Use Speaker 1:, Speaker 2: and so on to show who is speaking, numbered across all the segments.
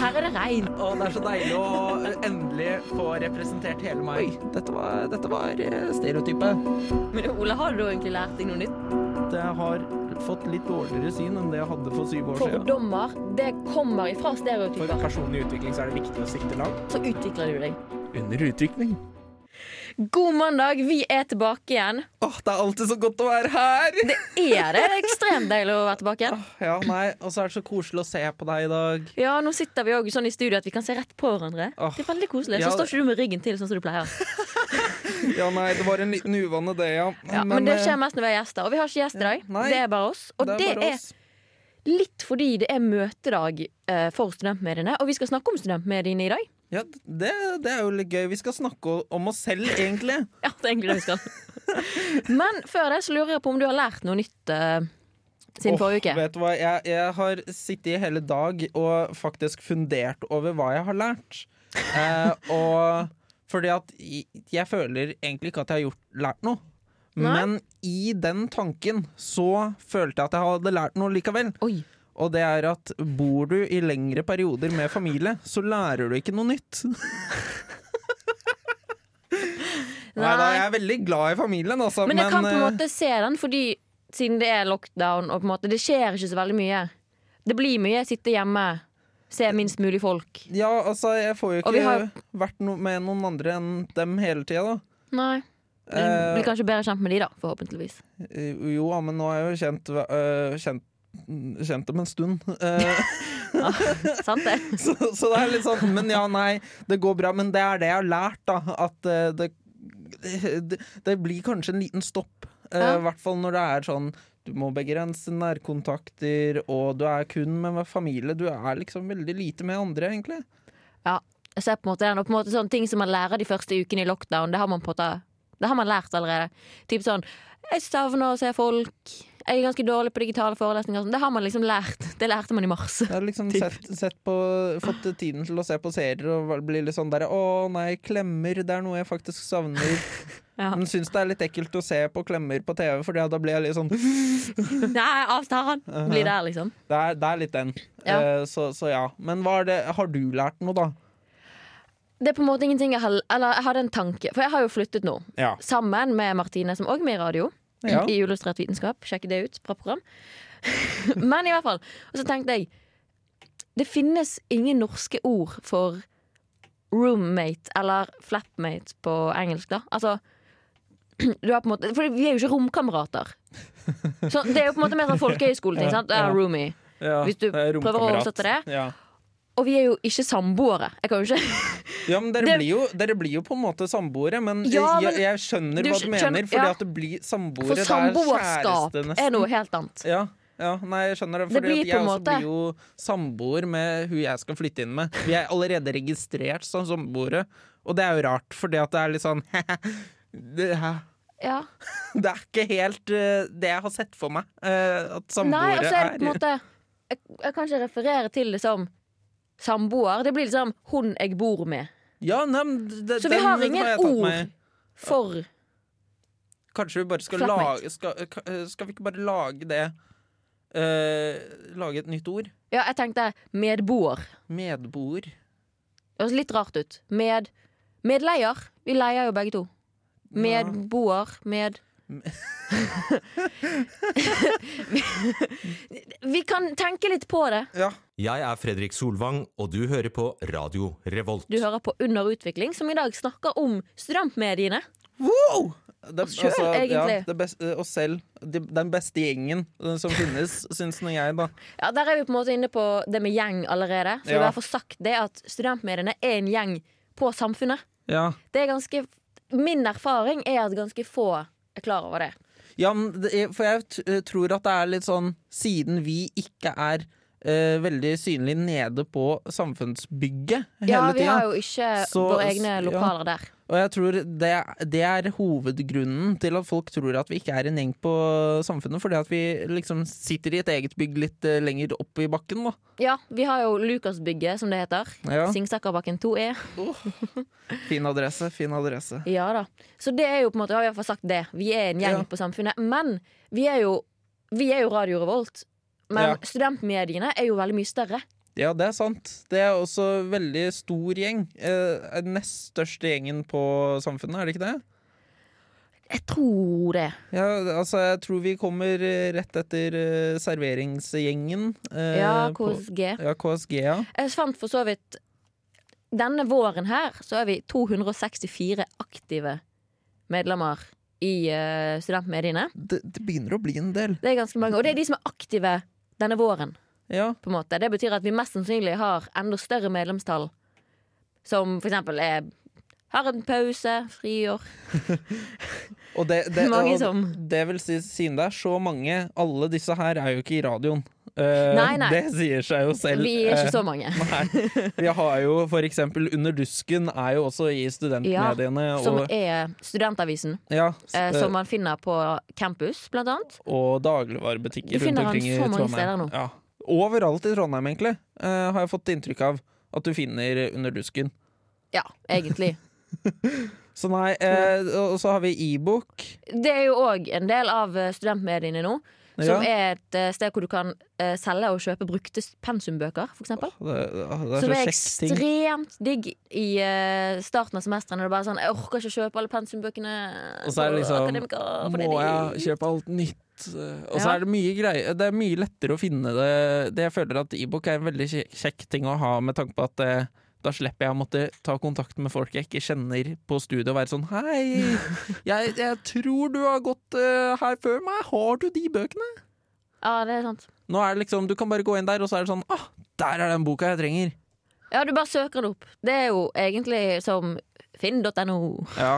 Speaker 1: her er det regn.
Speaker 2: Og det er så deilig å endelig få representert hele meg. Oi, dette var, dette var eh, stereotypet.
Speaker 1: Men Ole, har du egentlig lært deg noe nytt?
Speaker 2: Jeg har fått litt dårligere syn enn det jeg hadde for syv år siden.
Speaker 1: Fordommer, det kommer ifra
Speaker 2: For
Speaker 1: stereotyper.
Speaker 2: personlig utvikling så er det viktig å sikte langt.
Speaker 1: Så utvikler du deg.
Speaker 2: Under utvikling.
Speaker 1: God mandag, vi er tilbake igjen.
Speaker 2: Åh, det er alltid så godt å være her!
Speaker 1: Det er det. Det er ekstremt deilig å være tilbake igjen.
Speaker 2: Ja, nei, og så er det så koselig å se på deg i dag.
Speaker 1: Ja, nå sitter vi også sånn i studio at vi kan se rett på hverandre.
Speaker 2: Åh.
Speaker 1: Det er veldig koselig.
Speaker 2: Ja.
Speaker 1: Så står ikke du med ryggen til sånn som du pleier.
Speaker 2: Ja, nei, det var en liten uvane det, ja. eh,
Speaker 1: Ja, men, eh, det skjer mest når vi har gjester, og vi har ikke gjester i dag.
Speaker 2: Nei.
Speaker 1: Det er bare oss. Og det er, litt fordi det er møtedag eh, for studentmediene, og vi skal snakke om studentmediene i dag.
Speaker 2: Ja, det, det er jo litt gøy. Vi skal snakke om oss selv, egentlig.
Speaker 1: Ja, det er egentlig det vi skal. men før det så lurer jeg på om du har lært noe nytt eh, siden
Speaker 2: Åh,
Speaker 1: forrige uke.
Speaker 2: Vet du hva, jeg, jeg har sittet i hele dag og faktisk fundert over hva jeg har lært. Eh, og fordi at jeg, jeg føler egentlig ikke at jeg har gjort, lært noe.
Speaker 1: Nei.
Speaker 2: Men i den tanken så følte jeg at jeg hadde lært noe likevel.
Speaker 1: Oi.
Speaker 2: Og det er at bor du i lengre perioder med familie, så lærer du ikke noe nytt. Nei da, jeg er veldig glad i familien, altså.
Speaker 1: Men jeg kan på en
Speaker 2: eh,
Speaker 1: måte se den, fordi siden det er lockdown, og på en måte, det skjer ikke så veldig mye. Det blir mye sitte hjemme, se
Speaker 2: Eh,
Speaker 1: minst mulig folk.
Speaker 2: Ja, altså, jeg får jo
Speaker 1: Og vi
Speaker 2: ikke
Speaker 1: har-
Speaker 2: vært no med noen andre enn dem hele tida, da.
Speaker 1: Nei.
Speaker 2: Eh,
Speaker 1: Blir kanskje bedre kjent med de, da, forhåpentligvis.
Speaker 2: Eh, Jo, ja, men nå er jeg jo kjent øh, kjent, kjent dem en stund. Eh,
Speaker 1: Sant det?
Speaker 2: så, så det er litt sånn Men ja, nei, det går bra. Men det er det jeg har lært, da. At eh, det, det, det blir kanskje en liten stopp. eh, I
Speaker 1: Ja.
Speaker 2: hvert fall når det er sånn du må begrense nærkontakter, og du er kun med familie. Du er liksom veldig lite med andre, egentlig.
Speaker 1: Ja, jeg ser på en måte den. Og på en måte sånne ting som man lærer de første ukene i lockdown, det har man på en måte Det har man lært allerede. Typ sånn Jeg savner å se folk. Jeg er ganske dårlig på digitale forelesninger. og sånn. Det har man liksom lært. Det lærte man i mars.
Speaker 2: Jeg har liksom
Speaker 1: Typ.
Speaker 2: sett, sett på, fått tiden til å se på serier og bli litt sånn der Å nei, klemmer, det er noe jeg faktisk savner.
Speaker 1: Ja.
Speaker 2: Men syns det er litt ekkelt å se på klemmer på TV, for da blir jeg litt sånn Det
Speaker 1: Nei, avstand! Blir der, liksom.
Speaker 2: er, det er litt den.
Speaker 1: Ja.
Speaker 2: Eh, så, så ja. Men hva er det, har du lært noe, da?
Speaker 1: Det er på en måte ingenting jeg har Eller jeg hadde en tanke, for jeg har jo flyttet nå.
Speaker 2: Ja.
Speaker 1: Sammen med Martine, som òg er med i radio.
Speaker 2: Ja.
Speaker 1: I Illustrert vitenskap. Sjekk det ut. Bra program. Men i hvert fall. Og så tenkte jeg Det finnes ingen norske ord for roommate eller flapmate på engelsk, da. Altså du har på en måte, For vi er jo ikke romkamerater. Så det er jo på en måte mer sånn folkehøyskoleting.
Speaker 2: Ja,
Speaker 1: sant? Ja,
Speaker 2: ja.
Speaker 1: roomie. Hvis du
Speaker 2: det er
Speaker 1: prøver å
Speaker 2: romkamerat.
Speaker 1: oversette det.
Speaker 2: Ja,
Speaker 1: Og vi er jo ikke samboere. Jeg kan jo ikke
Speaker 2: ja men dere,
Speaker 1: Det-
Speaker 2: blir jo, dere blir jo på en måte samboere, men,
Speaker 1: Ja, men-
Speaker 2: jeg, jeg skjønner
Speaker 1: Du
Speaker 2: hva du
Speaker 1: skjønner-
Speaker 2: mener, fordi
Speaker 1: ja.
Speaker 2: at det blir samboere,
Speaker 1: For
Speaker 2: det er
Speaker 1: samboerskap
Speaker 2: kjæreste, nesten.
Speaker 1: er noe helt annet.
Speaker 2: Ja, ja, nei, jeg skjønner det.
Speaker 1: Det
Speaker 2: Fordi
Speaker 1: blir på
Speaker 2: at
Speaker 1: en
Speaker 2: jeg også
Speaker 1: måte-
Speaker 2: blir jo samboer med hun jeg skal flytte inn med. Vi er allerede registrert som samboere, og det er jo rart, fordi at det er litt sånn det, er-
Speaker 1: Ja.
Speaker 2: det er ikke helt eh, det jeg har sett for meg eh, at samboere
Speaker 1: Nei, altså, jeg,
Speaker 2: er.
Speaker 1: på en måte, jeg, jeg kan ikke referere til det som samboer. Det blir liksom 'hun jeg bor med'.
Speaker 2: Ja, nei, men det,
Speaker 1: Så vi
Speaker 2: den
Speaker 1: har ingen
Speaker 2: jeg tatt
Speaker 1: ord.
Speaker 2: meg.
Speaker 1: For
Speaker 2: Kanskje vi bare skal
Speaker 1: Flatmate.
Speaker 2: lage skal, eh, skal vi ikke bare lage det eh, Lage et nytt ord?
Speaker 1: Ja, jeg tenkte medboer.
Speaker 2: Medboer.
Speaker 1: Det høres litt rart ut. Med Medleier. Vi leier jo begge to. Medboer. Med Vi kan tenke litt på det.
Speaker 2: Ja.
Speaker 3: Jeg er Fredrik Solvang, og du hører på Radio Revolt.
Speaker 1: Du hører på Under utvikling, som i dag snakker om studentmediene.
Speaker 2: Wow! Det, altså,
Speaker 1: Oss selv, egentlig.
Speaker 2: det beste, oss selv. De, den beste gjengen eh, som finnes, syns nå jeg, da.
Speaker 1: Ja, Der er vi på en måte inne på det med gjeng allerede. For
Speaker 2: Ja.
Speaker 1: å bare få sagt det at Studentmediene er en gjeng på samfunnet.
Speaker 2: Ja.
Speaker 1: Det er ganske, Min erfaring er at ganske få er klar over det.
Speaker 2: ja, men det er- for jeg t eh, tror at det er litt sånn Siden vi ikke er eh, veldig synlig nede på samfunnsbygget hele
Speaker 1: Ja, Vi
Speaker 2: tida
Speaker 1: har jo ikke
Speaker 2: Så-
Speaker 1: våre egne
Speaker 2: ja.
Speaker 1: lokaler der.
Speaker 2: Og jeg tror det, det er hovedgrunnen til at folk tror at vi ikke er en gjeng på samfunnet, fordi at vi liksom sitter i et eget bygg litt eh, lenger opp i bakken, da.
Speaker 1: Ja, Vi har jo Lukasbygget, som det heter.
Speaker 2: Ja.
Speaker 1: Singsakerbakken E. 2E.
Speaker 2: Fin adresse, fin adresse.
Speaker 1: Ja da. Så det er jo på en måte, har vi i hvert fall sagt det. Vi er en gjeng
Speaker 2: Ja.
Speaker 1: på samfunnet. Men vi er jo, vi er jo Radio Revolt. Men
Speaker 2: Ja.
Speaker 1: studentmediene er jo veldig mye større.
Speaker 2: Ja, det er sant. Det er også veldig stor gjeng. Eh, nest største gjengen på samfunnet, er det ikke det?
Speaker 1: Jeg tror det.
Speaker 2: Ja, altså, jeg tror vi kommer eh, rett etter eh, serveringsgjengen. eh,
Speaker 1: Ja,
Speaker 2: på-
Speaker 1: KSG.
Speaker 2: Ja, KSG, ja.
Speaker 1: Jeg fant for så vidt Denne våren her så er vi 264 aktive medlemmer i eh, studentmediene.
Speaker 2: Det, det begynner å bli en del.
Speaker 1: Det er ganske mange. Og det er de som er aktive denne våren.
Speaker 2: Ja,
Speaker 1: på en måte. Det betyr at vi mest sannsynlig har enda større medlemstall. Som for eksempel er har en pause, friår
Speaker 2: og det, det,
Speaker 1: Mange
Speaker 2: og
Speaker 1: som-
Speaker 2: det vil si, siden det er så mange Alle disse her er jo ikke i radioen. Eh,
Speaker 1: Nei, nei.
Speaker 2: Det sier seg jo selv.
Speaker 1: Vi er ikke så mange.
Speaker 2: Eh, nei. Vi har jo for eksempel Under dusken er jo også i studentmediene.
Speaker 1: Som
Speaker 2: og,
Speaker 1: er Studentavisen,
Speaker 2: ja,
Speaker 1: eh,
Speaker 2: eh,
Speaker 1: som man finner på campus, blant annet.
Speaker 2: og dagligvarebutikker
Speaker 1: Du finner
Speaker 2: rundt omkring
Speaker 1: han
Speaker 2: i
Speaker 1: så mange
Speaker 2: Trondheim.
Speaker 1: steder nå.
Speaker 2: Ja. Overalt i Trondheim, egentlig, eh, har jeg fått inntrykk av at du finner under dusken.
Speaker 1: Ja, egentlig.
Speaker 2: Så nei, eh, og så har vi e-book.
Speaker 1: Det er jo òg en del av eh, studentmediene nå. Som
Speaker 2: Ja.
Speaker 1: er et eh, sted hvor du kan eh, selge og kjøpe brukte s- pensumbøker, for eksempel.
Speaker 2: Det, det er
Speaker 1: Som
Speaker 2: så
Speaker 1: er
Speaker 2: kjekk ting.
Speaker 1: ekstremt digg i eh, starten av semesteret. Når det er bare er sånn 'Jeg orker ikke å kjøpe alle pensumbøkene
Speaker 2: Og så er
Speaker 1: på
Speaker 2: det liksom,
Speaker 1: Akademika, for det
Speaker 2: Må
Speaker 1: er
Speaker 2: jeg
Speaker 1: dyrt.»
Speaker 2: kjøpe alt nytt? Eh, Og så
Speaker 1: Ja.
Speaker 2: er det mye greier Det er mye lettere å finne det. det jeg føler at e-book er en veldig kje- kjekk ting å ha, med tanke på at eh, da slipper jeg å måtte ta kontakt med folk jeg ikke kjenner på studiet og være sånn Hei, jeg, jeg tror du har gått eh, her før meg. Har du de bøkene?
Speaker 1: Ja, det er sant.
Speaker 2: Nå er det liksom, Du kan bare gå inn der, og så er det sånn ah, Der er den boka jeg trenger.
Speaker 1: Ja, du bare søker det opp. Det er jo egentlig som finn.no.
Speaker 2: Ja,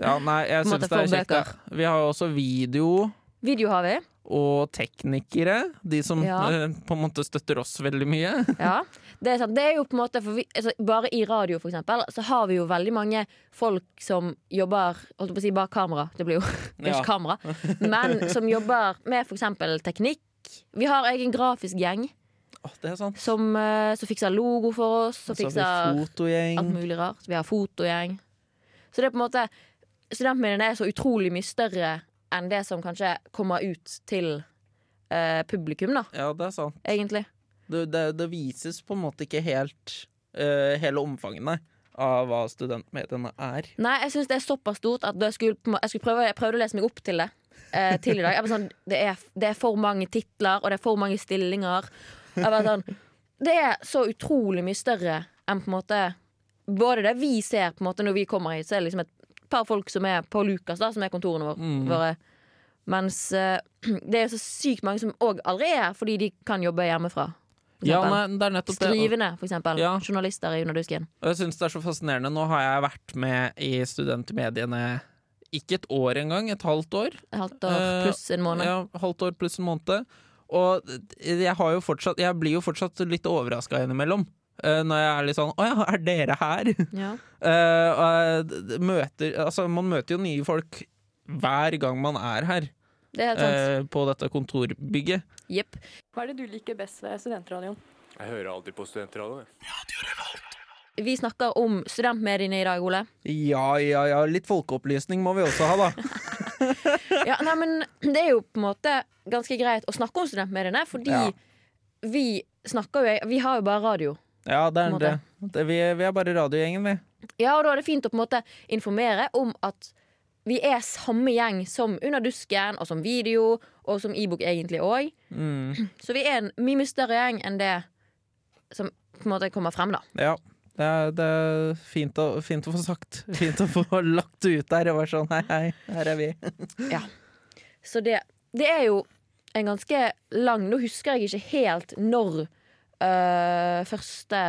Speaker 2: ja nei, jeg
Speaker 1: På en måte
Speaker 2: syns det er
Speaker 1: få
Speaker 2: kjekt. Ja. Vi har jo også video
Speaker 1: Video har vi.
Speaker 2: og teknikere. De som
Speaker 1: Ja.
Speaker 2: eh, på en måte støtter oss veldig mye.
Speaker 1: Ja, det er sant. Det er jo på en måte for vi, altså, Bare i radio, for eksempel, så har vi jo veldig mange folk som jobber Holdt jeg på å si bak kamera. Det blir jo det er
Speaker 2: Ja.
Speaker 1: ikke kamera. Men som jobber med for eksempel teknikk. Vi har egen grafisk gjeng
Speaker 2: Å, det er sant.
Speaker 1: som, eh, som fikser logo for oss. Som
Speaker 2: Så har
Speaker 1: fikser
Speaker 2: Altså, vi
Speaker 1: alt
Speaker 2: fotogjeng.
Speaker 1: mulig rart. Vi har fotogjeng. Så det er på en måte Studentmediene er så utrolig mye større enn det som kanskje kommer ut til eh, publikum, da,
Speaker 2: Ja, det er sant.
Speaker 1: egentlig.
Speaker 2: Det, det, det vises på en måte ikke helt eh, hele omfanget nei, av hva studentmediene er.
Speaker 1: Nei, jeg syns det er såpass stort at da jeg skulle, på en må- jeg skulle prøve jeg prøvde å lese meg opp til det eh, til i dag. Jeg var sånn, det, er, det er for mange titler, og det er for mange stillinger. Jeg var sånn, det er så utrolig mye større enn på en måte Både det vi ser på en måte når vi kommer hit, så er det liksom et par folk som er på Lukas, da, som er kontorene våre.
Speaker 2: Mm.
Speaker 1: våre. Mens eh, det er så sykt mange som òg aldri er her, fordi de kan jobbe hjemmefra. for
Speaker 2: Ja,
Speaker 1: eksempel.
Speaker 2: nei, det er nettopp det.
Speaker 1: Skrivende, for eksempel.
Speaker 2: Ja.
Speaker 1: Journalister i Underdusken.
Speaker 2: Og jeg syns det er så fascinerende. Nå har jeg vært med i studentmediene ikke et år engang, et halvt år.
Speaker 1: Et halvt år
Speaker 2: Eh,
Speaker 1: pluss en måned.
Speaker 2: Ja, halvt år pluss en måned. Og jeg, har jo fortsatt, jeg blir jo fortsatt litt overraska innimellom. eh, når jeg er litt sånn Å ja, er dere her?
Speaker 1: Ja.
Speaker 2: Eh, og jeg d- møter, altså, man møter jo nye folk hver gang man er her
Speaker 1: Det er helt sant.
Speaker 2: eh, på dette kontorbygget.
Speaker 1: Jepp.
Speaker 4: Hva er det du liker best ved studentradioen?
Speaker 5: Jeg hører alltid på studentradioen. jeg.
Speaker 1: Vi snakker om studentmediene i dag, Ole.
Speaker 2: Ja, ja, ja. Litt folkeopplysning må vi også ha, da.
Speaker 1: Ja, nei, men Det er jo på en måte ganske greit å snakke om studentmediene, fordi
Speaker 2: Ja.
Speaker 1: vi snakker jo Vi har jo bare radio.
Speaker 2: Ja, det er
Speaker 1: Må
Speaker 2: det. det vi, vi er bare radiogjengen, vi.
Speaker 1: Ja, og da er det fint å på en måte informere om at vi er samme gjeng som Under dusken, og som video, og som e-bok egentlig òg.
Speaker 2: Mm,
Speaker 1: Så vi er en mye mye større gjeng enn det som på en måte kommer frem, da.
Speaker 2: Ja. Det er, det er fint, å, fint å få sagt. Fint å få lagt det ut der og være sånn hei, hei, her er vi.
Speaker 1: Så det, det er jo en ganske lang Nå husker jeg ikke helt når øh, første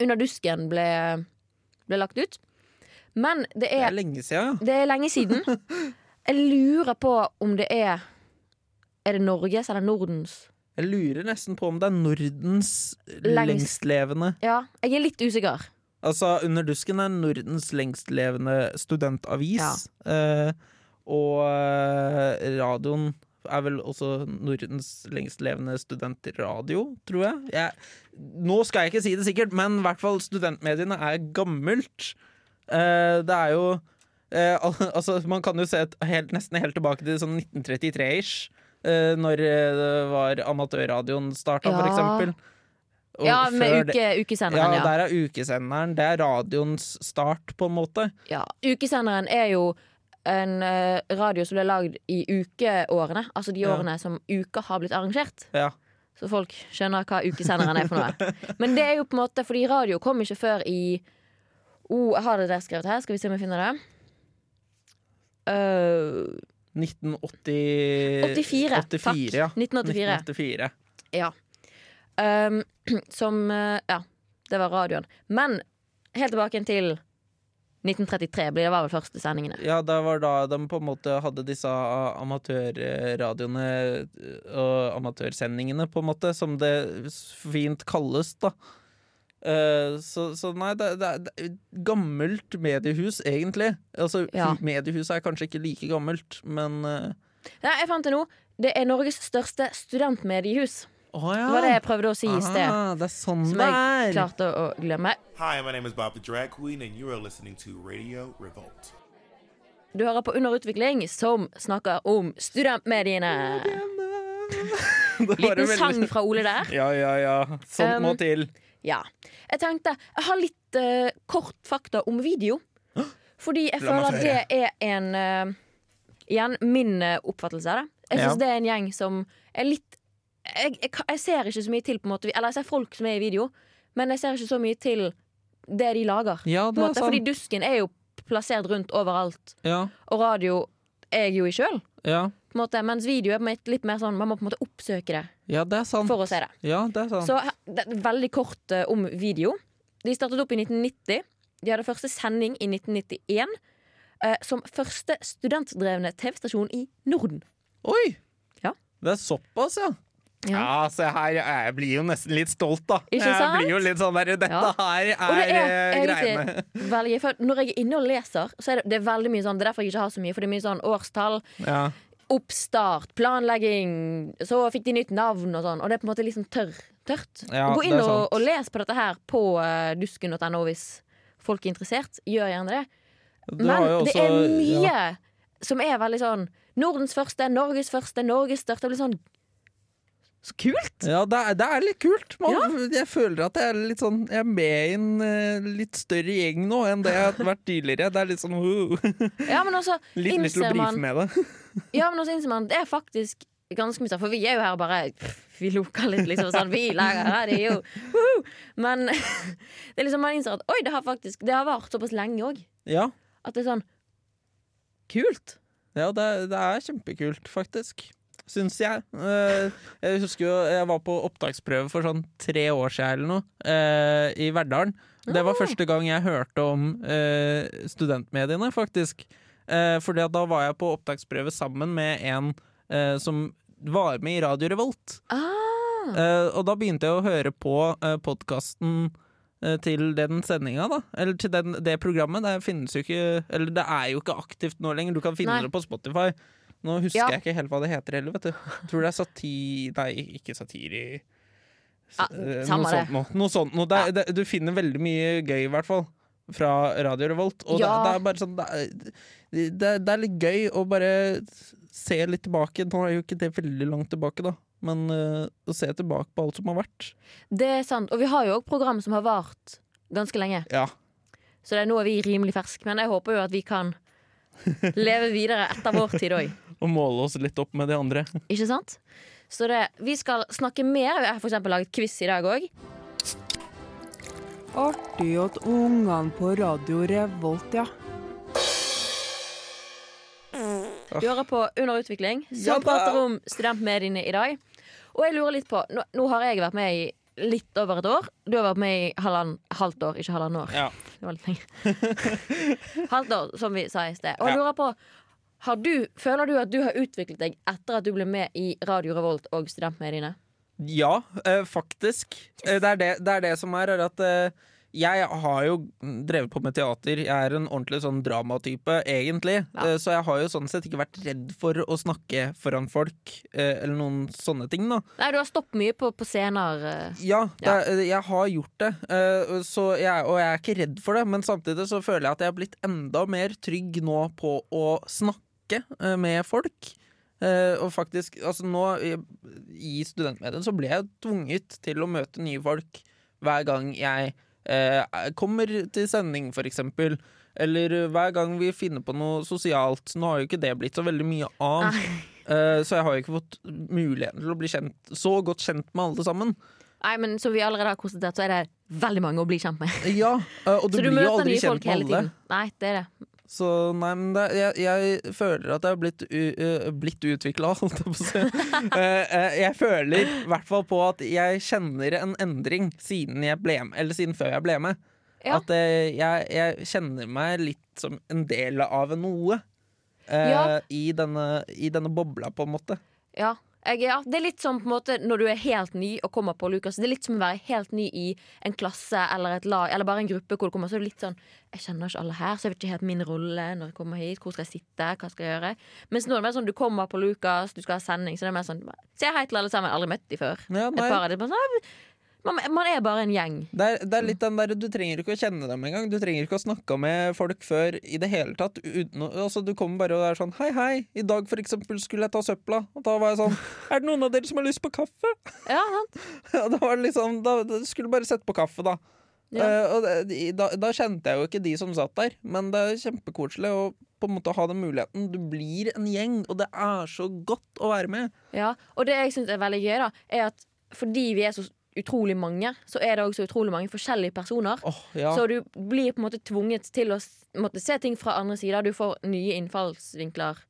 Speaker 1: Under dusken ble, ble lagt ut. Men det
Speaker 2: Det er
Speaker 1: er,
Speaker 2: lenge siden, ja.
Speaker 1: det er lenge siden. Jeg lurer på om det er Er det Norges eller Nordens?
Speaker 2: Jeg lurer nesten på om det er Nordens
Speaker 1: Lengst.
Speaker 2: lengstlevende
Speaker 1: Ja, jeg er litt usikker.
Speaker 2: Altså, Under dusken er Nordens lengstlevende studentavis. eh, og eh, radioen er vel også Nordens lengstlevende studentradio, tror jeg. jeg. Nå skal jeg ikke si det sikkert, men i hvert fall studentmediene er gammelt. Eh, det er jo eh, al Altså, man kan jo se et helt, nesten helt tilbake til sånn 1933-ish. eh, når eh, det var amatørradioen starta, for
Speaker 1: Ja.
Speaker 2: eksempel. Og
Speaker 1: ja,
Speaker 2: før
Speaker 1: med
Speaker 2: det-
Speaker 1: uke, ukesenderen,
Speaker 2: Ja,
Speaker 1: ja.
Speaker 2: der er ukesenderen. Det er radioens start, på en måte.
Speaker 1: ja. Ukesenderen er jo en eh, radio som ble lagd i ukeårene. Altså de
Speaker 2: Ja.
Speaker 1: årene som uka har blitt arrangert.
Speaker 2: Ja.
Speaker 1: Så folk skjønner hva ukesenderen er for noe. Men det er jo på en måte fordi radio kom ikke før i oh, Jeg har det der skrevet her. Skal vi se om jeg finner det. Øh,
Speaker 2: 1980...
Speaker 1: 84, takk.
Speaker 2: 84, ja.
Speaker 1: 1984.
Speaker 2: 1984.
Speaker 1: ja. Ehm, som eh, Ja, det var radioen. Men helt tilbake igjen til 1933 blir det var vel første sendingene.
Speaker 2: Ja, det var da de på en måte hadde disse a- amatørradioene eh, og amatørsendingene, på en måte, som det s- fint kalles, da. Eh, Så, så nei, det, det, det er gammelt mediehus, egentlig. Altså,
Speaker 1: Ja.
Speaker 2: mediehuset er kanskje ikke like gammelt, men eh,
Speaker 1: Nei, jeg fant det nå. Det er Norges største studentmediehus.
Speaker 2: Å ja!
Speaker 1: Det var det jeg prøvde å si i sted.
Speaker 2: Ah, det er sånn
Speaker 1: Som
Speaker 2: det
Speaker 1: jeg
Speaker 2: er!
Speaker 1: klarte å å glemme.
Speaker 6: Hi, my name is Bob the Drag Queen, and you are listening to Radio Revolt.
Speaker 1: Du hører på Under utvikling, som snakker om studentmediene.
Speaker 2: Det var
Speaker 1: Liten
Speaker 2: veldig-
Speaker 1: sang fra Ole der.
Speaker 2: Ja, ja, ja. Sånt må
Speaker 1: Um,
Speaker 2: til.
Speaker 1: Ja. Jeg tenkte jeg har litt eh, kort fakta om video. Fordi jeg
Speaker 2: La meg
Speaker 1: føler
Speaker 2: få
Speaker 1: at det er en eh, Igjen min eh, oppfattelse av det. Jeg
Speaker 2: Ja.
Speaker 1: syns det er en gjeng som er litt jeg, jeg, ka- jeg ser ikke så mye til på en måte Eller jeg ser folk som er i video, men jeg ser ikke så mye til det de lager.
Speaker 2: Ja, sånn.
Speaker 1: på en
Speaker 2: det er
Speaker 1: måte. Fordi
Speaker 2: sant.
Speaker 1: dusken er jo plassert rundt overalt,
Speaker 2: Ja,
Speaker 1: og radio er jeg jo i sjøl.
Speaker 2: ja.
Speaker 1: på en måte, Mens video er litt mer sånn man må på en måte oppsøke det
Speaker 2: ja, det er sant.
Speaker 1: for å se det.
Speaker 2: Ja, det er sant.
Speaker 1: Så her- det er veldig kort eh, om video. De startet opp i 1990. De hadde første sending i 1991 eh, som første studentdrevne TV-stasjon i Norden.
Speaker 2: Oi!
Speaker 1: Ja.
Speaker 2: Det er såpass, ja.
Speaker 1: Ja.
Speaker 2: se her. Jeg blir jo nesten litt stolt, da.
Speaker 1: Ikke sant?
Speaker 2: jo litt sånn der Dette
Speaker 1: Ja.
Speaker 2: her eh,
Speaker 1: Og det er egentlig veldig for Når jeg er inne og leser, så er det, det er veldig mye sånn Det er derfor jeg ikke har så mye, for det er mye sånn årstall,
Speaker 2: Ja.
Speaker 1: oppstart, planlegging, så fikk de nytt navn og sånn. Og det er på en måte litt sånn tørr, tørt.
Speaker 2: Ja,
Speaker 1: Gå
Speaker 2: det
Speaker 1: inn
Speaker 2: er
Speaker 1: og,
Speaker 2: sant.
Speaker 1: og les på dette her på eh, dusken.no hvis folk er interessert. Gjør gjerne det.
Speaker 2: Du har jo
Speaker 1: Men det
Speaker 2: også-
Speaker 1: er mye
Speaker 2: ja.
Speaker 1: som er veldig sånn Nordens første, Norges første, Norges største. Det blir sånn Så kult!
Speaker 2: Ja, det er, det er litt kult. Man, Jeg føler at jeg er litt sånn Jeg er med i en eh, litt større gjeng nå enn det jeg har vært tidligere. Det er litt sånn uh,
Speaker 1: Ja, men også
Speaker 2: Litt lyst til å
Speaker 1: innser
Speaker 2: brife
Speaker 1: man
Speaker 2: med det.
Speaker 1: Ja, men også innser man Det er faktisk ganske mye sånn, for vi er jo her og bare pff, Vi loker litt, liksom. Sånn, vi lager radio! Woohoo! Men det er liksom man innser at oi, det har faktisk Det har vart såpass lenge òg.
Speaker 2: Ja,
Speaker 1: At det er sånn Kult!
Speaker 2: ja det, er- det er kjempekult, faktisk. Syns jeg. Eh, Jeg husker jo jeg var på opptaksprøve for sånn tre år siden eller noe, eh, i Verdalen. Det var første gang jeg hørte om eh, studentmediene, faktisk. Eh, fordi at da var jeg på opptaksprøve sammen med en eh, som var med i Radio Revolt.
Speaker 1: Ah,
Speaker 2: Eh, og da begynte jeg å høre på uh, podkasten til den sendinga, da. Eller til den, det programmet. Det finnes jo ikke Eller det er jo ikke aktivt nå lenger. Du kan finne
Speaker 1: Nei.
Speaker 2: det på Spotify. Nå husker
Speaker 1: Ja.
Speaker 2: jeg ikke helt hva det heter heller, vet du. Tror det er satiri Nei, ikke satiri.
Speaker 1: Ja,
Speaker 2: Eh,
Speaker 1: samme
Speaker 2: noe
Speaker 1: det.
Speaker 2: sånt noe. Noe sånt noe. Det, er- det, du finner veldig mye gøy, i hvert fall. Fra Radio Revolt. Og
Speaker 1: Ja.
Speaker 2: det, det er bare sånn det er, det, det er litt gøy å bare se litt tilbake. Nå er jo ikke det veldig langt tilbake, da. Men eh, å se tilbake på alt som har vært.
Speaker 1: det er sant. Og vi har jo òg program som har vart ganske lenge.
Speaker 2: Ja.
Speaker 1: Så det er nå er vi rimelig ferske, men jeg håper jo at vi kan leve videre etter vår tid òg.
Speaker 2: Og måle oss litt opp med de andre.
Speaker 1: Ikke sant? Så det, vi skal snakke mer. Jeg har for eksempel laget quiz i dag òg.
Speaker 7: Artig at ungene på Radio Revolt, ja.
Speaker 1: Du hører på Under utvikling,
Speaker 2: Ja
Speaker 1: som
Speaker 2: da.
Speaker 1: prater om studentmediene i dag. Og jeg lurer litt på Nå, nå har jeg vært med i litt over et år. Du har vært med i halvann, halvt år, ikke halvannet år.
Speaker 2: Ja.
Speaker 1: Det var litt lenge. halvt år, som vi sa i sted. Og jeg
Speaker 2: Ja.
Speaker 1: lurer på har du, Føler du at du har utviklet deg etter at du ble med i Radio Revolt og studentmediene?
Speaker 2: Ja, eh, faktisk. Eh, det, er det, det er det som er, er at eh, jeg har jo drevet på med teater. Jeg er en ordentlig sånn dramatype, egentlig.
Speaker 1: Ja.
Speaker 2: Eh, så jeg har jo sånn sett ikke vært redd for å snakke foran folk, eh, eller noen sånne ting, da.
Speaker 1: Nei, du har stoppet mye på, på scener. eh.
Speaker 2: Ja, det,
Speaker 1: Ja.
Speaker 2: er- jeg har gjort det, eh, så jeg, og jeg er ikke redd for det. Men samtidig så føler jeg at jeg har blitt enda mer trygg nå på å snakke eh, med folk. Eh, Eh, og faktisk, altså nå i, i studentmediene så ble jeg tvunget til å møte nye folk hver gang jeg eh, kommer til sending, for eksempel. Eller hver gang vi finner på noe sosialt. Nå har jo ikke det blitt så veldig mye av. Eh, så jeg har jo ikke fått muligheten til å bli kjent, så godt kjent med alle sammen.
Speaker 1: Nei, men Som vi allerede har konstatert, så er det veldig mange å bli kjent med.
Speaker 2: Ja, eh, Og du
Speaker 1: så du
Speaker 2: blir jo
Speaker 1: møter
Speaker 2: aldri
Speaker 1: nye
Speaker 2: kjent
Speaker 1: folk hele
Speaker 2: med alle.
Speaker 1: tiden. Nei, det er det.
Speaker 2: Så nei, men det, jeg, jeg føler at jeg har blitt, u, ø, blitt utvikla, holdt jeg på å si. Eh, eh, jeg føler i hvert fall på at jeg kjenner en endring siden, jeg ble, med- eller siden før jeg ble med.
Speaker 1: Ja.
Speaker 2: At eh, jeg, jeg kjenner meg litt som en del av noe. eh,
Speaker 1: Ja.
Speaker 2: i, denne, I denne bobla, på en måte.
Speaker 1: Ja. Jeg, ja. Det er litt som på en måte når du er helt ny og kommer på Lukas. Det er litt som å være helt ny i en klasse eller et lag eller bare en gruppe hvor du kommer. Så er det litt sånn Jeg kjenner ikke alle her, så jeg vet ikke helt min rolle når jeg kommer hit. Hvor skal jeg sitte? Hva skal jeg gjøre? Mens nå er det mer sånn du kommer på Lukas, du skal ha sending, så det er mer sånn Se hei til alle sammen. Aldri møtt de før.
Speaker 2: Ja,
Speaker 1: Et
Speaker 2: nei,
Speaker 1: par av de bare sånn, «Nei, man, man er bare en gjeng.
Speaker 2: det, er, det er litt den der, Du trenger ikke å kjenne dem engang. Du trenger ikke å snakke med folk før i det hele tatt. Uten, å- altså, du kommer bare og er sånn Hei, hei, i dag for eksempel skulle jeg ta søpla. Og da var jeg sånn Er det noen av dere som har lyst på kaffe?
Speaker 1: Ja, sant?
Speaker 2: Ja, da var det liksom, da, da skulle du bare sette på kaffe, da.
Speaker 1: Ja.
Speaker 2: Eh, og det, de- da, da kjente jeg jo ikke de som satt der, men det er kjempekoselig å på en måte ha den muligheten. Du blir en gjeng, og det er så godt å være med.
Speaker 1: Ja, og det jeg syns er veldig gøy, da, er at fordi vi er så utrolig mange, så er det også utrolig mange forskjellige personer.
Speaker 2: Åh, ja.
Speaker 1: Så du blir på en måte tvunget til å s- måtte se ting fra andre sider. Du får nye innfallsvinkler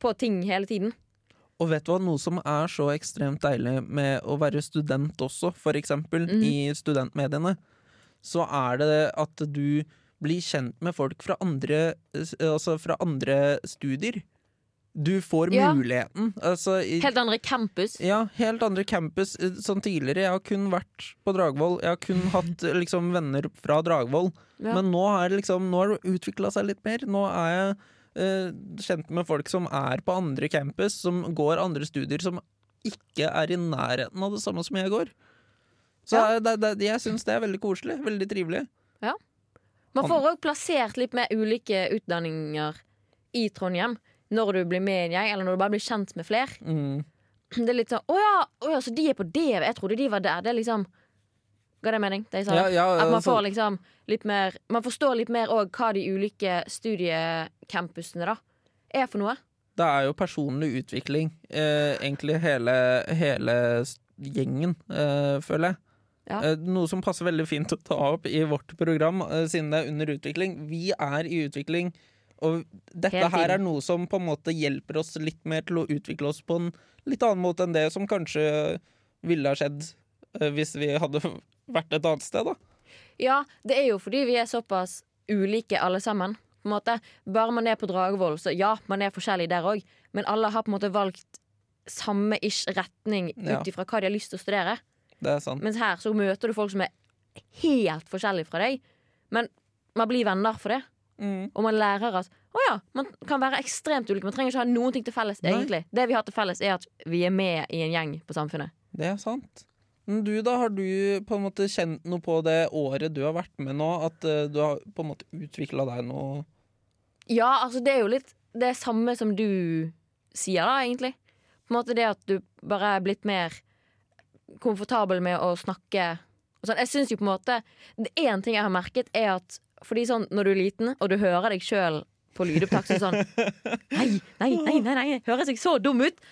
Speaker 1: på ting hele tiden.
Speaker 2: Og vet du hva, noe som er så ekstremt deilig med å være student også, for eksempel,
Speaker 1: Mhm.
Speaker 2: i studentmediene, så er det at du blir kjent med folk fra andre, eh, altså fra andre studier. Du får
Speaker 1: Ja.
Speaker 2: muligheten. Altså, i,
Speaker 1: Helt andre campus.
Speaker 2: ja, helt andre campus. eh, Sånn tidligere, jeg har kun vært på Dragvoll. Jeg har kun hatt eh, liksom, venner fra Dragvoll.
Speaker 1: Ja.
Speaker 2: Men nå har liksom, nå har det utvikla seg litt mer. Nå er jeg eh, kjent med folk som er på andre campus, som går andre studier, som ikke er i nærheten av det samme som jeg går. Så
Speaker 1: Ja.
Speaker 2: det, det, jeg syns det er veldig koselig. Veldig trivelig.
Speaker 1: Man får òg plassert litt mer ulike utdanninger i Trondheim når du blir med i en gjeng, eller når du bare blir kjent med flere.
Speaker 2: Mm.
Speaker 1: Det er litt sånn 'Å ja, å ja, så de er på det? Jeg trodde de var der.' Det er liksom Ga det mening, det jeg sa?
Speaker 2: Ja, ja,
Speaker 1: At man
Speaker 2: altså-
Speaker 1: får liksom litt mer Man forstår litt mer òg hva de ulike studiecampusene da er for noe.
Speaker 2: Det er jo personlig utvikling, eh, egentlig, hele, hele s- gjengen, eh, føler jeg.
Speaker 1: Ja.
Speaker 2: Eh, noe som passer veldig fint å ta opp i vårt program, eh, siden det er under utvikling. Vi er i utvikling, og dette
Speaker 1: Hele
Speaker 2: her er
Speaker 1: tiden.
Speaker 2: noe som på en måte hjelper oss litt mer til å utvikle oss på en litt annen måte enn det som kanskje ville ha skjedd eh, hvis vi hadde vært et annet sted, da.
Speaker 1: Ja, det er jo fordi vi er såpass ulike alle sammen. På en måte. Bare man er på Dragvoll, så ja, man er forskjellig der òg, men alle har på en måte valgt samme ish retning
Speaker 2: Ja.
Speaker 1: ut ifra hva de har lyst til å studere.
Speaker 2: Det er sant.
Speaker 1: Mens her så møter du folk som er helt forskjellige fra deg. Men man blir venner for det.
Speaker 2: Mm.
Speaker 1: Og man lærer at å ja, man kan være ekstremt ulik. Man trenger ikke ha noen ting til felles.
Speaker 2: Nei.
Speaker 1: egentlig Det vi har til felles, er at vi er med i en gjeng på samfunnet.
Speaker 2: Det er sant. Men du, da, har du på en måte kjent noe på det året du har vært med nå, at eh, du har på en måte utvikla deg noe
Speaker 1: Ja, altså det er jo litt det samme som du sier, da, egentlig. På en måte det at du bare er blitt mer komfortabel med å snakke og sånn. Jeg syns jo på en måte det Én ting jeg har merket, er at fordi sånn når du er liten, og du hører deg sjøl på lydopptak, så er det sånn Nei, nei, nei, nei, nei, høres jeg så dum ut?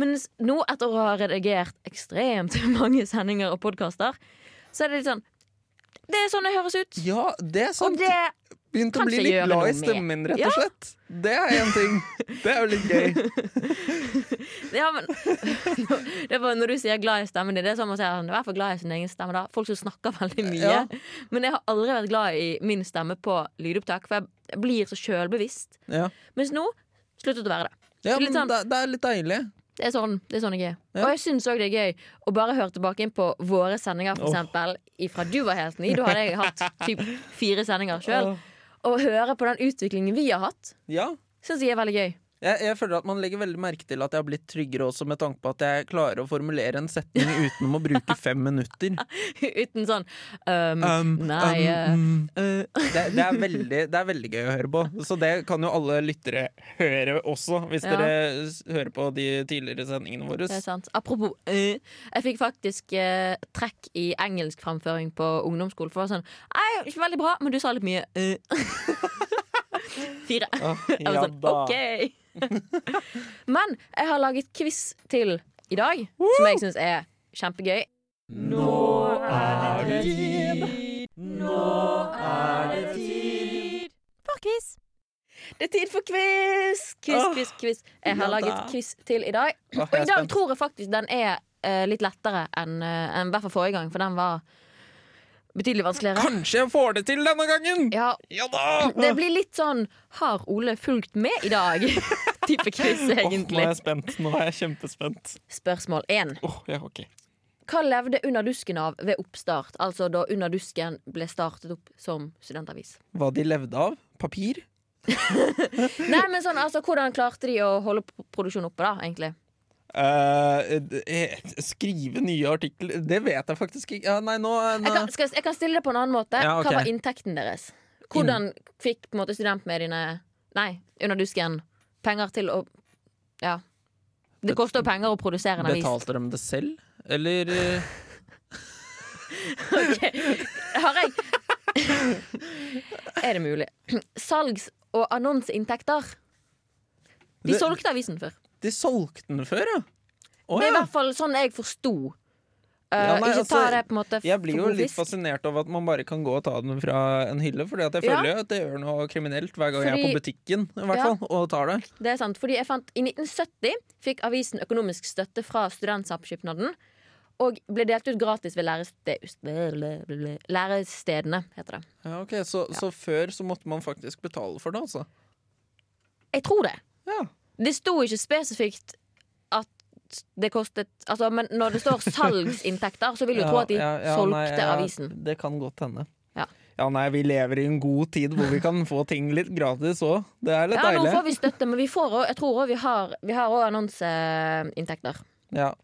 Speaker 1: Mens nå, etter å ha redigert ekstremt mange sendinger og podkaster, så er det litt sånn Det er sånn det høres ut.
Speaker 2: Ja, det er
Speaker 1: Og
Speaker 2: sant!
Speaker 1: det
Speaker 2: Begynt å bli
Speaker 1: kanskje
Speaker 2: litt
Speaker 1: gjøre
Speaker 2: glad i
Speaker 1: noe med.
Speaker 2: stemmen, rett
Speaker 1: Ja.
Speaker 2: og slett. Det er én ting. Det er jo litt gøy.
Speaker 1: Ja, men det var Når du sier glad i stemmen din, det er som å si at han er i hvert fall glad i sin egen stemme. da Folk som snakker veldig mye.
Speaker 2: Ja.
Speaker 1: Men jeg har aldri vært glad i min stemme på lydopptak, for jeg blir så sjølbevisst.
Speaker 2: Ja,
Speaker 1: Mens nå sluttet å være det.
Speaker 2: ja
Speaker 1: Litt
Speaker 2: men
Speaker 1: sånn-
Speaker 2: det, det er litt deilig.
Speaker 1: Det er sånn, det er sånn jeg er.
Speaker 2: Ja.
Speaker 1: Og jeg syns òg det er gøy å bare høre tilbake inn på våre sendinger,
Speaker 2: Åh.
Speaker 1: for eksempel. Ifra du var helt ny. Da hadde jeg hatt typ fire sendinger sjøl.
Speaker 2: Åh.
Speaker 1: Å høre på den utviklingen vi har hatt,
Speaker 2: Ja.
Speaker 1: syns jeg er veldig gøy.
Speaker 2: Jeg, jeg føler at man legger veldig merke til at jeg har blitt tryggere også, med tanke på at jeg klarer å formulere en setning uten å bruke fem minutter.
Speaker 1: Uten sånn um,
Speaker 2: Um,
Speaker 1: Nei eh,
Speaker 2: um,
Speaker 1: eh,
Speaker 2: Det, det, er veldig, det er veldig gøy å høre på. Så det kan jo alle lyttere høre også, hvis
Speaker 1: Ja.
Speaker 2: dere s- hører på de tidligere sendingene våre.
Speaker 1: Det er sant. Apropos eh, Jeg fikk faktisk eh, trekk i engelsk framføring på ungdomsskolen. For det var sånn Nei, ikke veldig bra, men du sa litt mye eh». Fire.
Speaker 2: Ah,
Speaker 1: Jeg var
Speaker 2: ja
Speaker 1: sånn,
Speaker 2: da.
Speaker 1: OK! Men jeg har laget quiz til i dag, som jeg syns er kjempegøy.
Speaker 2: Nå er det tid! Nå er det tid!
Speaker 1: Det er tid for quiz! Quiz,
Speaker 2: Åh,
Speaker 1: quiz, quiz. Jeg har
Speaker 2: ja
Speaker 1: laget
Speaker 2: da.
Speaker 1: quiz til i dag.
Speaker 2: Åh,
Speaker 1: Og
Speaker 2: jeg
Speaker 1: i
Speaker 2: er
Speaker 1: dag
Speaker 2: spent.
Speaker 1: tror jeg faktisk den er eh, litt lettere enn eh, enn i hvert fall forrige gang, for den var betydelig vanskeligere.
Speaker 2: Kanskje jeg får det til denne gangen!
Speaker 1: Ja,
Speaker 2: Ja da!
Speaker 1: Det blir litt sånn Har Ole fulgt med i dag? Type quiz,
Speaker 2: Åh, nå
Speaker 1: egentlig.
Speaker 2: er jeg spent. Nå er jeg kjempespent.
Speaker 1: Spørsmål én.
Speaker 2: Åh, ja, ok.
Speaker 1: Hva levde Under dusken av ved oppstart? Altså da Under dusken ble startet opp som studentavis.
Speaker 2: Hva de levde av? Papir?
Speaker 1: Nei, men sånn, altså Hvordan klarte de å holde p- produksjonen oppe, da, egentlig?
Speaker 2: Eh, eh, skrive nye artikler Det vet jeg faktisk ikke. Ja, nei, nå, nå.
Speaker 1: Jeg kan, skal, jeg kan stille det på en annen måte.
Speaker 2: Ja, ok.
Speaker 1: Hva var inntekten deres? Hvordan fikk på en måte studentmediene Nei, Under dusken penger til å Ja. Det koster jo penger å produsere en avis.
Speaker 2: Betalte de det selv? Eller eh,
Speaker 1: Har jeg Er det mulig? Salgs- og annonseinntekter. De
Speaker 2: Det-
Speaker 1: solgte avisen før.
Speaker 2: De solgte den før, ja? Å
Speaker 1: Det er i
Speaker 2: ja.
Speaker 1: hvert fall sånn jeg forsto. Eh,
Speaker 2: Ja, nei,
Speaker 1: ikke ta
Speaker 2: altså,
Speaker 1: det på en måte
Speaker 2: Jeg blir jo
Speaker 1: for god
Speaker 2: litt
Speaker 1: fisk.
Speaker 2: fascinert over at man bare kan gå og ta den fra en hylle. Fordi at jeg
Speaker 1: Ja.
Speaker 2: føler jo at det gjør noe kriminelt hver gang jeg er på butikken i hvert
Speaker 1: Ja.
Speaker 2: fall, og tar det.
Speaker 1: Det er sant, fordi jeg fant I 1970 fikk avisen økonomisk støtte fra Studentsamskipnaden. Og ble delt ut gratis ved læreste- lærestedene, heter det.
Speaker 2: Ja, ok, så, så før så måtte man faktisk betale for det, altså?
Speaker 1: Jeg tror det.
Speaker 2: Ja.
Speaker 1: Det sto ikke spesifikt at det kostet altså, Men når det står salgsinntekter, så vil du
Speaker 2: Ja,
Speaker 1: tro at de
Speaker 2: ja, ja,
Speaker 1: solgte
Speaker 2: nei, ja,
Speaker 1: avisen.
Speaker 2: Det kan godt hende.
Speaker 1: Ja.
Speaker 2: nei, vi lever i en god tid hvor vi kan få ting litt gratis òg. Det er litt
Speaker 1: Ja, nå
Speaker 2: deilig.
Speaker 1: får vi støtte, men vi får også, jeg tror òg vi har, vi har også annonseinntekter.
Speaker 2: Ja.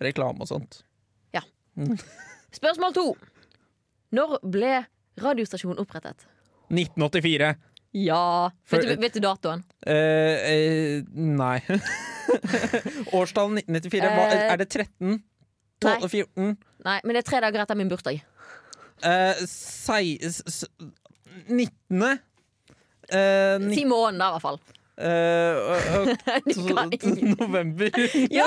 Speaker 2: Reklame og sånt.
Speaker 1: Spørsmål to. Når ble radiostasjonen opprettet?
Speaker 2: 1984.
Speaker 1: Ja
Speaker 2: For-
Speaker 1: Vet du, vet du datoen?
Speaker 2: Eh, eh, nei. Årstallet 1994. Hva,
Speaker 1: Eh,
Speaker 2: er det 13?
Speaker 1: nei.
Speaker 2: 12, 14?
Speaker 1: Nei, men det er tre dager etter min bursdag.
Speaker 2: Eh, sei, s, s, 19. Eh, ni,
Speaker 1: Si måneden, da, i hvert fall.
Speaker 2: eh, ø- ø-
Speaker 1: Du kan ingen-
Speaker 2: november.
Speaker 1: Ja!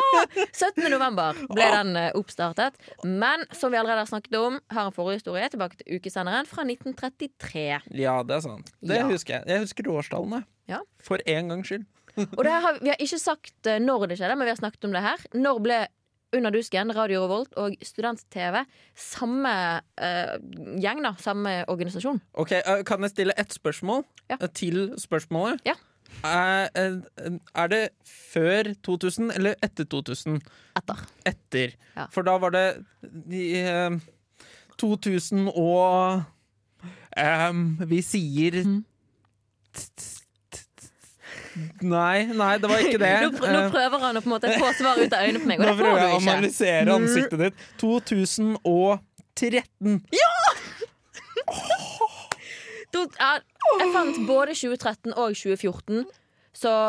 Speaker 1: 17. november ble den eh, oppstartet. Men som vi allerede har snakket om, har en forhistorie tilbake til ukesenderen fra 1933.
Speaker 2: Ja, det er sant. Det
Speaker 1: Ja.
Speaker 2: husker jeg. Jeg husker årstallene.
Speaker 1: Ja.
Speaker 2: For en gangs skyld.
Speaker 1: Og det her har, vi har ikke sagt eh, når det skjedde, men vi har snakket om det her. Når ble Under dusken, Radio Revolt og Student-TV samme eh, gjeng, da? Samme organisasjon?
Speaker 2: Ok, eh, Kan jeg stille ett spørsmål
Speaker 1: Ja.
Speaker 2: eh, til spørsmålet?
Speaker 1: Ja.
Speaker 2: Er, eh, er det før 2000 eller etter 2000?
Speaker 1: Etter.
Speaker 2: Etter.
Speaker 1: Ja.
Speaker 2: For da var det de, eh, 2000 og em, Vi sier t- t- t- t- Nei, nei, det var ikke det.
Speaker 1: Mm. Nå, pr nå
Speaker 2: Eh,
Speaker 1: prøver han å på en måte få svar ut av øynene på meg, og
Speaker 2: nå
Speaker 1: det
Speaker 2: prøver
Speaker 1: får
Speaker 2: jeg å
Speaker 1: du ikke.
Speaker 2: analysere ansiktet ditt. 2013.
Speaker 1: Du, ja, jeg fant både 2013 og 2014, så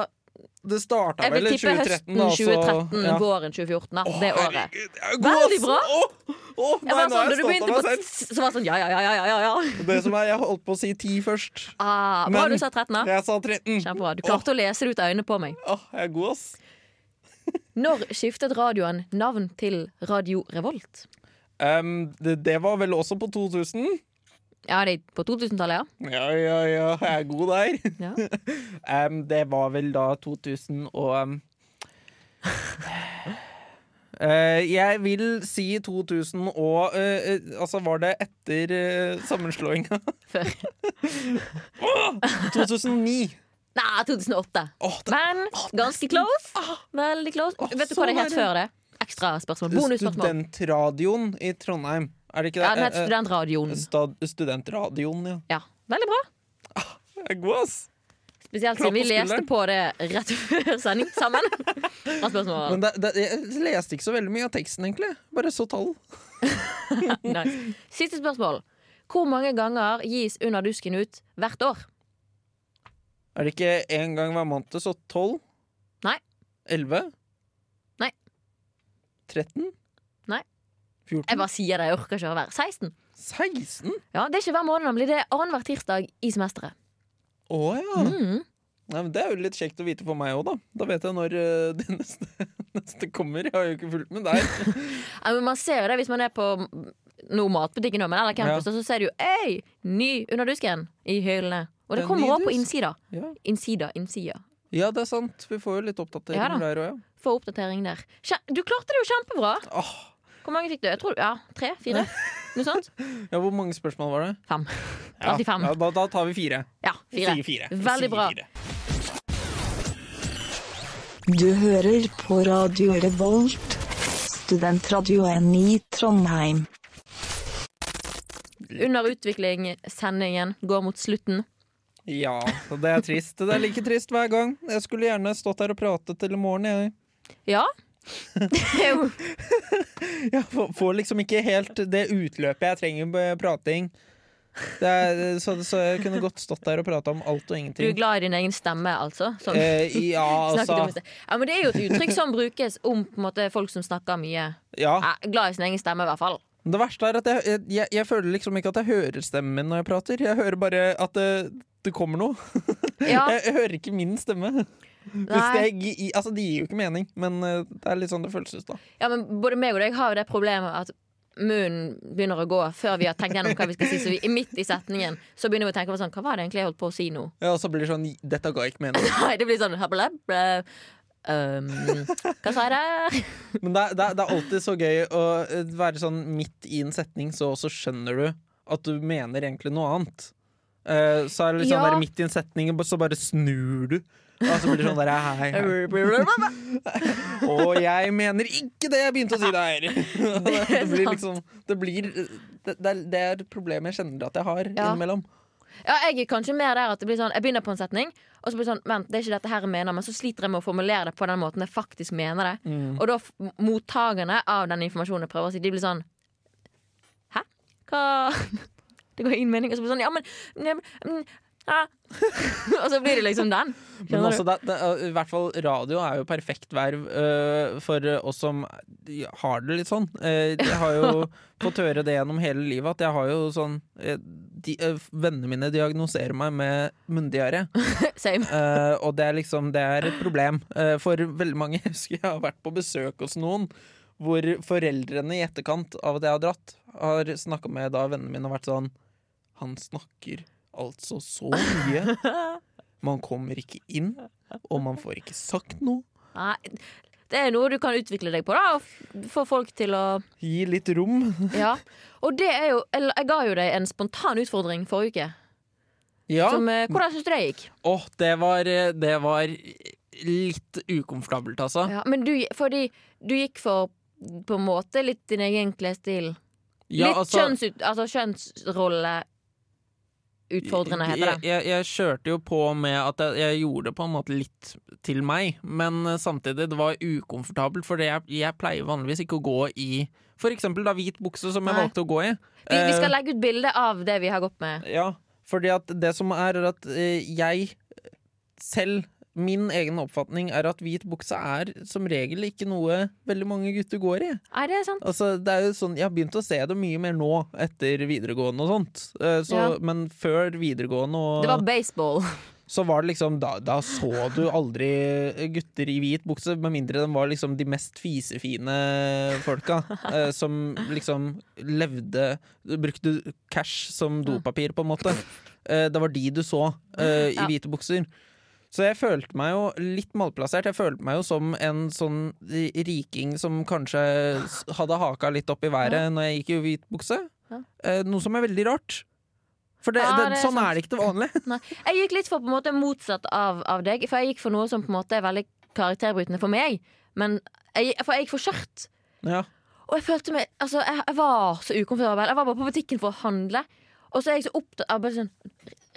Speaker 2: Det starta
Speaker 1: jeg
Speaker 2: vel
Speaker 1: vil
Speaker 2: i
Speaker 1: tippe
Speaker 2: 2013.
Speaker 1: høsten
Speaker 2: da, så-
Speaker 1: 2013,
Speaker 2: ja.
Speaker 1: våren 2014. Da, det året.
Speaker 2: Herregud, jeg er god,
Speaker 1: Veldig
Speaker 2: ass.
Speaker 1: bra.
Speaker 2: Åh, åh,
Speaker 1: Jeg var
Speaker 2: nei,
Speaker 1: sånn,
Speaker 2: nå er
Speaker 1: da
Speaker 2: jeg
Speaker 1: du
Speaker 2: stolt
Speaker 1: begynte
Speaker 2: av
Speaker 1: på
Speaker 2: meg altså.
Speaker 1: t- så var jeg sånn ja, ja, ja, ja, ja. ja.
Speaker 2: selv. Det som er, jeg holdt på å si 10 først.
Speaker 1: Ah, bra
Speaker 2: Men-
Speaker 1: du sa 13, da.
Speaker 2: Jeg sa 13.
Speaker 1: Kjempebra. Du klarte å lese det ut av øynene på meg.
Speaker 2: Åh, jeg er god, ass.
Speaker 1: Når skiftet radioen navn til Radio Revolt?
Speaker 2: Em, det, det var vel også på 2000?
Speaker 1: Ja, det er på 2000-tallet, ja.
Speaker 2: Ja, ja, ja, jeg er god der.
Speaker 1: ja.
Speaker 2: Em, det var vel da 2000 og em, eh, Jeg vil si 2000 og eh, eh, Altså, var det etter uh, sammenslåinga?
Speaker 1: Før.
Speaker 2: Åh, 2009.
Speaker 1: Nei, 2008.
Speaker 2: Åh, det
Speaker 1: Men ganske close. Veldig close. Vet du
Speaker 2: sånn
Speaker 1: hva det het før det? Ekstra spørsmål. Bonusspørsmål.
Speaker 2: Studentradioen i Trondheim. Er det ikke det?
Speaker 1: Ja, den het
Speaker 2: Eh, eh,
Speaker 1: Studentradioen.
Speaker 2: Stad, studentradioen, ja.
Speaker 1: Ja, Veldig bra.
Speaker 2: Jeg er god, ass.
Speaker 1: Spesielt siden
Speaker 2: Klapp
Speaker 1: vi
Speaker 2: på
Speaker 1: leste
Speaker 2: skulderen.
Speaker 1: på det rett før sending sammen. Han spurte meg
Speaker 2: Men det, det, jeg leste ikke så veldig mye av teksten, egentlig. Bare så tall.
Speaker 1: Nice. Siste spørsmål. Hvor mange ganger gis Under dusken ut hvert år?
Speaker 2: Er det ikke én gang hver måned, så tolv?
Speaker 1: Nei.
Speaker 2: Elleve?
Speaker 1: Nei.
Speaker 2: Tretten?
Speaker 1: Nei. Jeg
Speaker 2: Fjorten?
Speaker 1: bare sier det, jeg orker ikke å være 16.
Speaker 2: Seksten?
Speaker 1: Ja, Det er ikke hver måned, men det er annenhver tirsdag i semesteret.
Speaker 2: Å ja.
Speaker 1: Mm.
Speaker 2: Nei, men det er jo litt kjekt å vite for meg òg, da. Da vet jeg når eh, det neste, neste kommer. Jeg har jo ikke fulgt med der.
Speaker 1: Ja, men man ser jo det hvis man er på noe matbutikken, nå, men eller campus,
Speaker 2: Ja.
Speaker 1: og så ser du jo Øy, ny Under dusken i hyllene. Og
Speaker 2: Det
Speaker 1: det
Speaker 2: er
Speaker 1: kommer
Speaker 2: ny
Speaker 1: òg på
Speaker 2: dusk.
Speaker 1: innsida.
Speaker 2: Ja.
Speaker 1: Innsida, innsida.
Speaker 2: ja, det er sant. Vi får jo litt oppdatering
Speaker 1: Ja da.
Speaker 2: der òg, ja.
Speaker 1: Få oppdatering der. Kje- Du klarte det jo kjempebra!
Speaker 2: Åh.
Speaker 1: Hvor mange fikk du? Jeg tror, ja, Tre? Fire? Noe sånt?
Speaker 2: ja. Hvor mange spørsmål var det?
Speaker 1: Fem.
Speaker 2: Ja,
Speaker 1: Alltid fem.
Speaker 2: ja, da, da tar vi fire.
Speaker 1: Ja,
Speaker 2: Vi
Speaker 1: fire.
Speaker 2: sier fire. Vi
Speaker 1: Veldig
Speaker 2: sier
Speaker 1: bra.
Speaker 2: fire.
Speaker 8: Du hører på Radio Revolt, studentradioen i Trondheim.
Speaker 1: Under utvikling-sendingen går mot slutten.
Speaker 2: Ja, og det er trist. Det er like trist hver gang. Jeg skulle gjerne stått her og pratet til i morgen. Jeg,
Speaker 1: Ja. Det er jo
Speaker 2: jeg får- får liksom ikke helt det utløpet jeg trenger med prating. Det er, så, så jeg kunne godt stått der og prata om alt og
Speaker 1: Du er
Speaker 2: ingenting.
Speaker 1: glad i din egen stemme, altså? Som
Speaker 2: Eh, ja,
Speaker 1: snakket om i
Speaker 2: altså
Speaker 1: sted. ja, men det er jo et uttrykk som brukes om på en måte, folk som snakker mye.
Speaker 2: ja.
Speaker 1: Ja, glad i sin egen stemme, i hvert fall.
Speaker 2: Det verste er at jeg, jeg- jeg, jeg føler liksom ikke at jeg hører stemmen min når jeg prater. Jeg hører bare at det, det kommer noe.
Speaker 1: Ja,
Speaker 2: Jeg, jeg hører ikke min stemme. Eh, Hvis
Speaker 1: nei.
Speaker 2: det, gi- i- altså, det gir jo ikke mening, men eh, det er litt sånn det føles ut, da.
Speaker 1: ja, men både meg og deg har jo det problemet at munnen begynner å gå før vi har tenkt gjennom hva vi skal si. Så vi, midt i setningen så begynner vi å tenke på sånn Hva var det egentlig jeg holdt på å si nå?
Speaker 2: Ja, og så blir det sånn Dette ga ikke mening.
Speaker 1: Nei, det blir sånn habla, bla, um, Hva sa jeg der?
Speaker 2: Men det, er- det, er- det er alltid så gøy å eh, være sånn midt i en setning, så også skjønner du at du mener egentlig noe annet. Eh, så er det liksom
Speaker 1: Ja.
Speaker 2: der midt i en setning, og så bare snur du. Og så blir det sånn der hei, hei.
Speaker 1: sånn,
Speaker 2: Og jeg mener ikke det jeg begynte å si der! Det blir liksom Det blir Det, det, er- det er et problem jeg kjenner at jeg har
Speaker 1: Ja.
Speaker 2: innimellom.
Speaker 1: Ja, jeg er kanskje mer der at det blir sånn Jeg begynner på en setning, og så blir det sånn Vent, det er ikke dette her jeg mener, men så sliter jeg med å formulere det på den måten jeg faktisk mener det.
Speaker 2: Mm.
Speaker 1: Og da f- mottakerne av den informasjonen jeg prøver å si, de blir sånn Hæ? Hva Det går ingen mening. Og så blir det sånn Ja, men, men, men ja. Og så blir det liksom den.
Speaker 2: Men
Speaker 1: Skjønner
Speaker 2: altså- også det, det, I hvert fall radio er jo perfekt verv øh, for øh, oss som har det litt sånn. Eh, jeg har jo fått høre det gjennom hele livet at jeg har jo sånn eh, de, eh, Vennene mine diagnoserer meg med munndiaré,
Speaker 1: du? Same.
Speaker 2: eh, og det er liksom Det er et problem eh, for veldig mange. Jeg husker jeg har vært på besøk hos noen hvor foreldrene i etterkant av at jeg har dratt, har snakka med da vennene mine og vært sånn Han snakker altså så mye. Man kommer ikke inn, og man får ikke sagt noe.
Speaker 1: Nei. Det er noe du kan utvikle deg på, da. Og f- få folk til å
Speaker 2: Gi litt rom.
Speaker 1: Ja. Og det er jo eller, Jeg ga jo deg en spontan utfordring forrige uke.
Speaker 2: Ja.
Speaker 1: Som, eh, hvordan syns du det gikk?
Speaker 2: Åh, det var, eh, det var litt ukomfortabelt, altså.
Speaker 1: Ja, men du, fordi du gikk for på en måte litt din egen klesstil.
Speaker 2: Ja,
Speaker 1: litt
Speaker 2: altså,
Speaker 1: kjønnsut, altså kjønnsrolleutfordrende, heter det.
Speaker 2: Jeg, jeg, jeg kjørte jo på med at jeg, jeg gjorde det på en måte litt til meg, men eh, samtidig, det var ukomfortabelt, for jeg, jeg pleier vanligvis ikke å gå i for eksempel da hvit bukse, som jeg
Speaker 1: Nei.
Speaker 2: valgte å gå i.
Speaker 1: Vi, vi
Speaker 2: Eh,
Speaker 1: skal legge ut bilde av det vi har gått med.
Speaker 2: Ja, fordi at det som er, er at eh, jeg selv Min egen oppfatning er at hvit bukse er som regel ikke noe veldig mange gutter går i.
Speaker 1: Nei, det er sant.
Speaker 2: Altså, det er jo sånn, Jeg har begynt å se det mye mer nå, etter videregående og sånt. Eh, Så,
Speaker 1: Ja.
Speaker 2: Men før videregående og,
Speaker 1: Det var baseball.
Speaker 2: så var det liksom da, da så du aldri gutter i hvit bukse, med mindre de var liksom de mest fisefine folka. eh, som liksom levde Brukte cash som dopapir, på en måte. Eh, det var de du så eh, i
Speaker 1: Ja.
Speaker 2: hvite bukser. Så jeg følte meg jo litt malplassert. Jeg følte meg jo som en sånn riking som kanskje s- hadde haka litt opp i været når jeg gikk i hvit bukse.
Speaker 1: Ja.
Speaker 2: Eh, noe som er veldig rart. For det,
Speaker 1: Ja,
Speaker 2: det,
Speaker 1: det er
Speaker 2: sånn
Speaker 1: sant.
Speaker 2: er det ikke til vanlig.
Speaker 1: Nei. Jeg gikk litt for på en måte motsatt av, av deg, for jeg gikk for noe som på en måte er veldig karakterbrytende for meg. Men jeg, for jeg gikk for skjørt.
Speaker 2: Ja.
Speaker 1: Og jeg følte meg Altså, jeg, jeg var så ukomfortabel. Jeg var bare på butikken for å handle. Og så er jeg så opptatt av bare sånn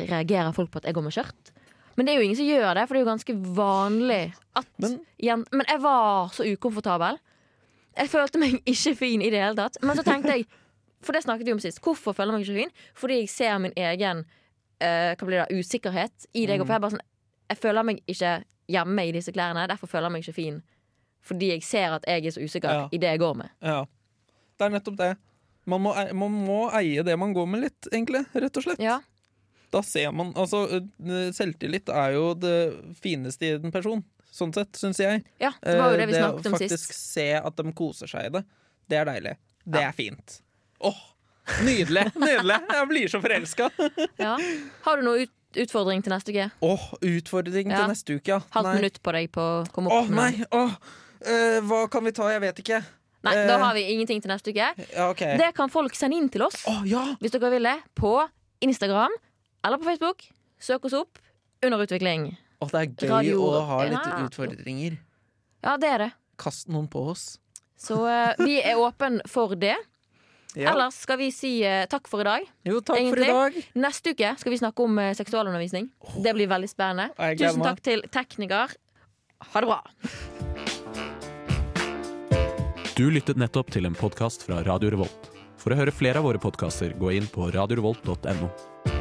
Speaker 1: Reagerer folk på at jeg går med skjørt? Men det er jo ingen som gjør det, for det er jo ganske vanlig at
Speaker 2: Men-
Speaker 1: jen- Men jeg var så ukomfortabel. Jeg følte meg ikke fin i det hele tatt. Men så tenkte jeg, for det snakket vi om sist, hvorfor føler jeg meg ikke fin? Fordi jeg ser min egen eh, hva blir det, usikkerhet i
Speaker 2: Mm.
Speaker 1: det jeg går på. Jeg, er bare sånn, jeg føler meg ikke hjemme i disse klærne, derfor føler jeg meg ikke fin. Fordi jeg ser at jeg er så usikker
Speaker 2: Ja.
Speaker 1: i det jeg går med.
Speaker 2: Ja. Det er nettopp det. Man må, e- man må eie det man går med litt, egentlig. Rett og slett.
Speaker 1: Ja,
Speaker 2: Da ser man Altså, ø, selvtillit er jo det fineste i en person, sånn sett, syns jeg.
Speaker 1: ja Det var jo
Speaker 2: Eh,
Speaker 1: det vi snakket om
Speaker 2: Faktisk
Speaker 1: sist.
Speaker 2: se at de koser seg i det. Det er deilig. Det er fint. Åh, nydelig! Nydelig! Jeg blir så forelska!
Speaker 1: Ja. Har du noen ut utfordring til neste uke?
Speaker 2: Åh, utfordring
Speaker 1: Ja.
Speaker 2: til neste uke, ja.
Speaker 1: Halvt
Speaker 2: Nei.
Speaker 1: minutt på deg på å komme
Speaker 2: Åh,
Speaker 1: opp med noe.
Speaker 2: nei! Åh, eh, hva kan vi ta? Jeg vet ikke.
Speaker 1: Nei,
Speaker 2: Eh.
Speaker 1: da har vi ingenting til neste uke.
Speaker 2: Ja, OK.
Speaker 1: Det kan folk sende inn til oss
Speaker 2: Åh, ja!
Speaker 1: hvis dere vil det, på Instagram eller på Facebook. Søk oss opp under utvikling.
Speaker 2: Åh, det er gøy
Speaker 1: Radio-
Speaker 2: å ha litt
Speaker 1: Ja.
Speaker 2: utfordringer.
Speaker 1: Ja, det er det.
Speaker 2: Kast noen på oss.
Speaker 1: Så eh, vi er åpen for det.
Speaker 2: Ja.
Speaker 1: Ellers skal vi si eh, takk for i dag.
Speaker 2: Jo, takk
Speaker 1: Egentlig.
Speaker 2: for i dag.
Speaker 1: Neste uke skal vi snakke om eh, seksualundervisning. Det blir veldig spennende.
Speaker 2: Jeg gleder
Speaker 1: Tusen
Speaker 2: meg.
Speaker 1: takk til tekniker. Ha det bra.
Speaker 9: Du lyttet nettopp til en podkast fra Radio Revolt. For å høre flere av våre podkaster, gå inn på radiorevolt.no.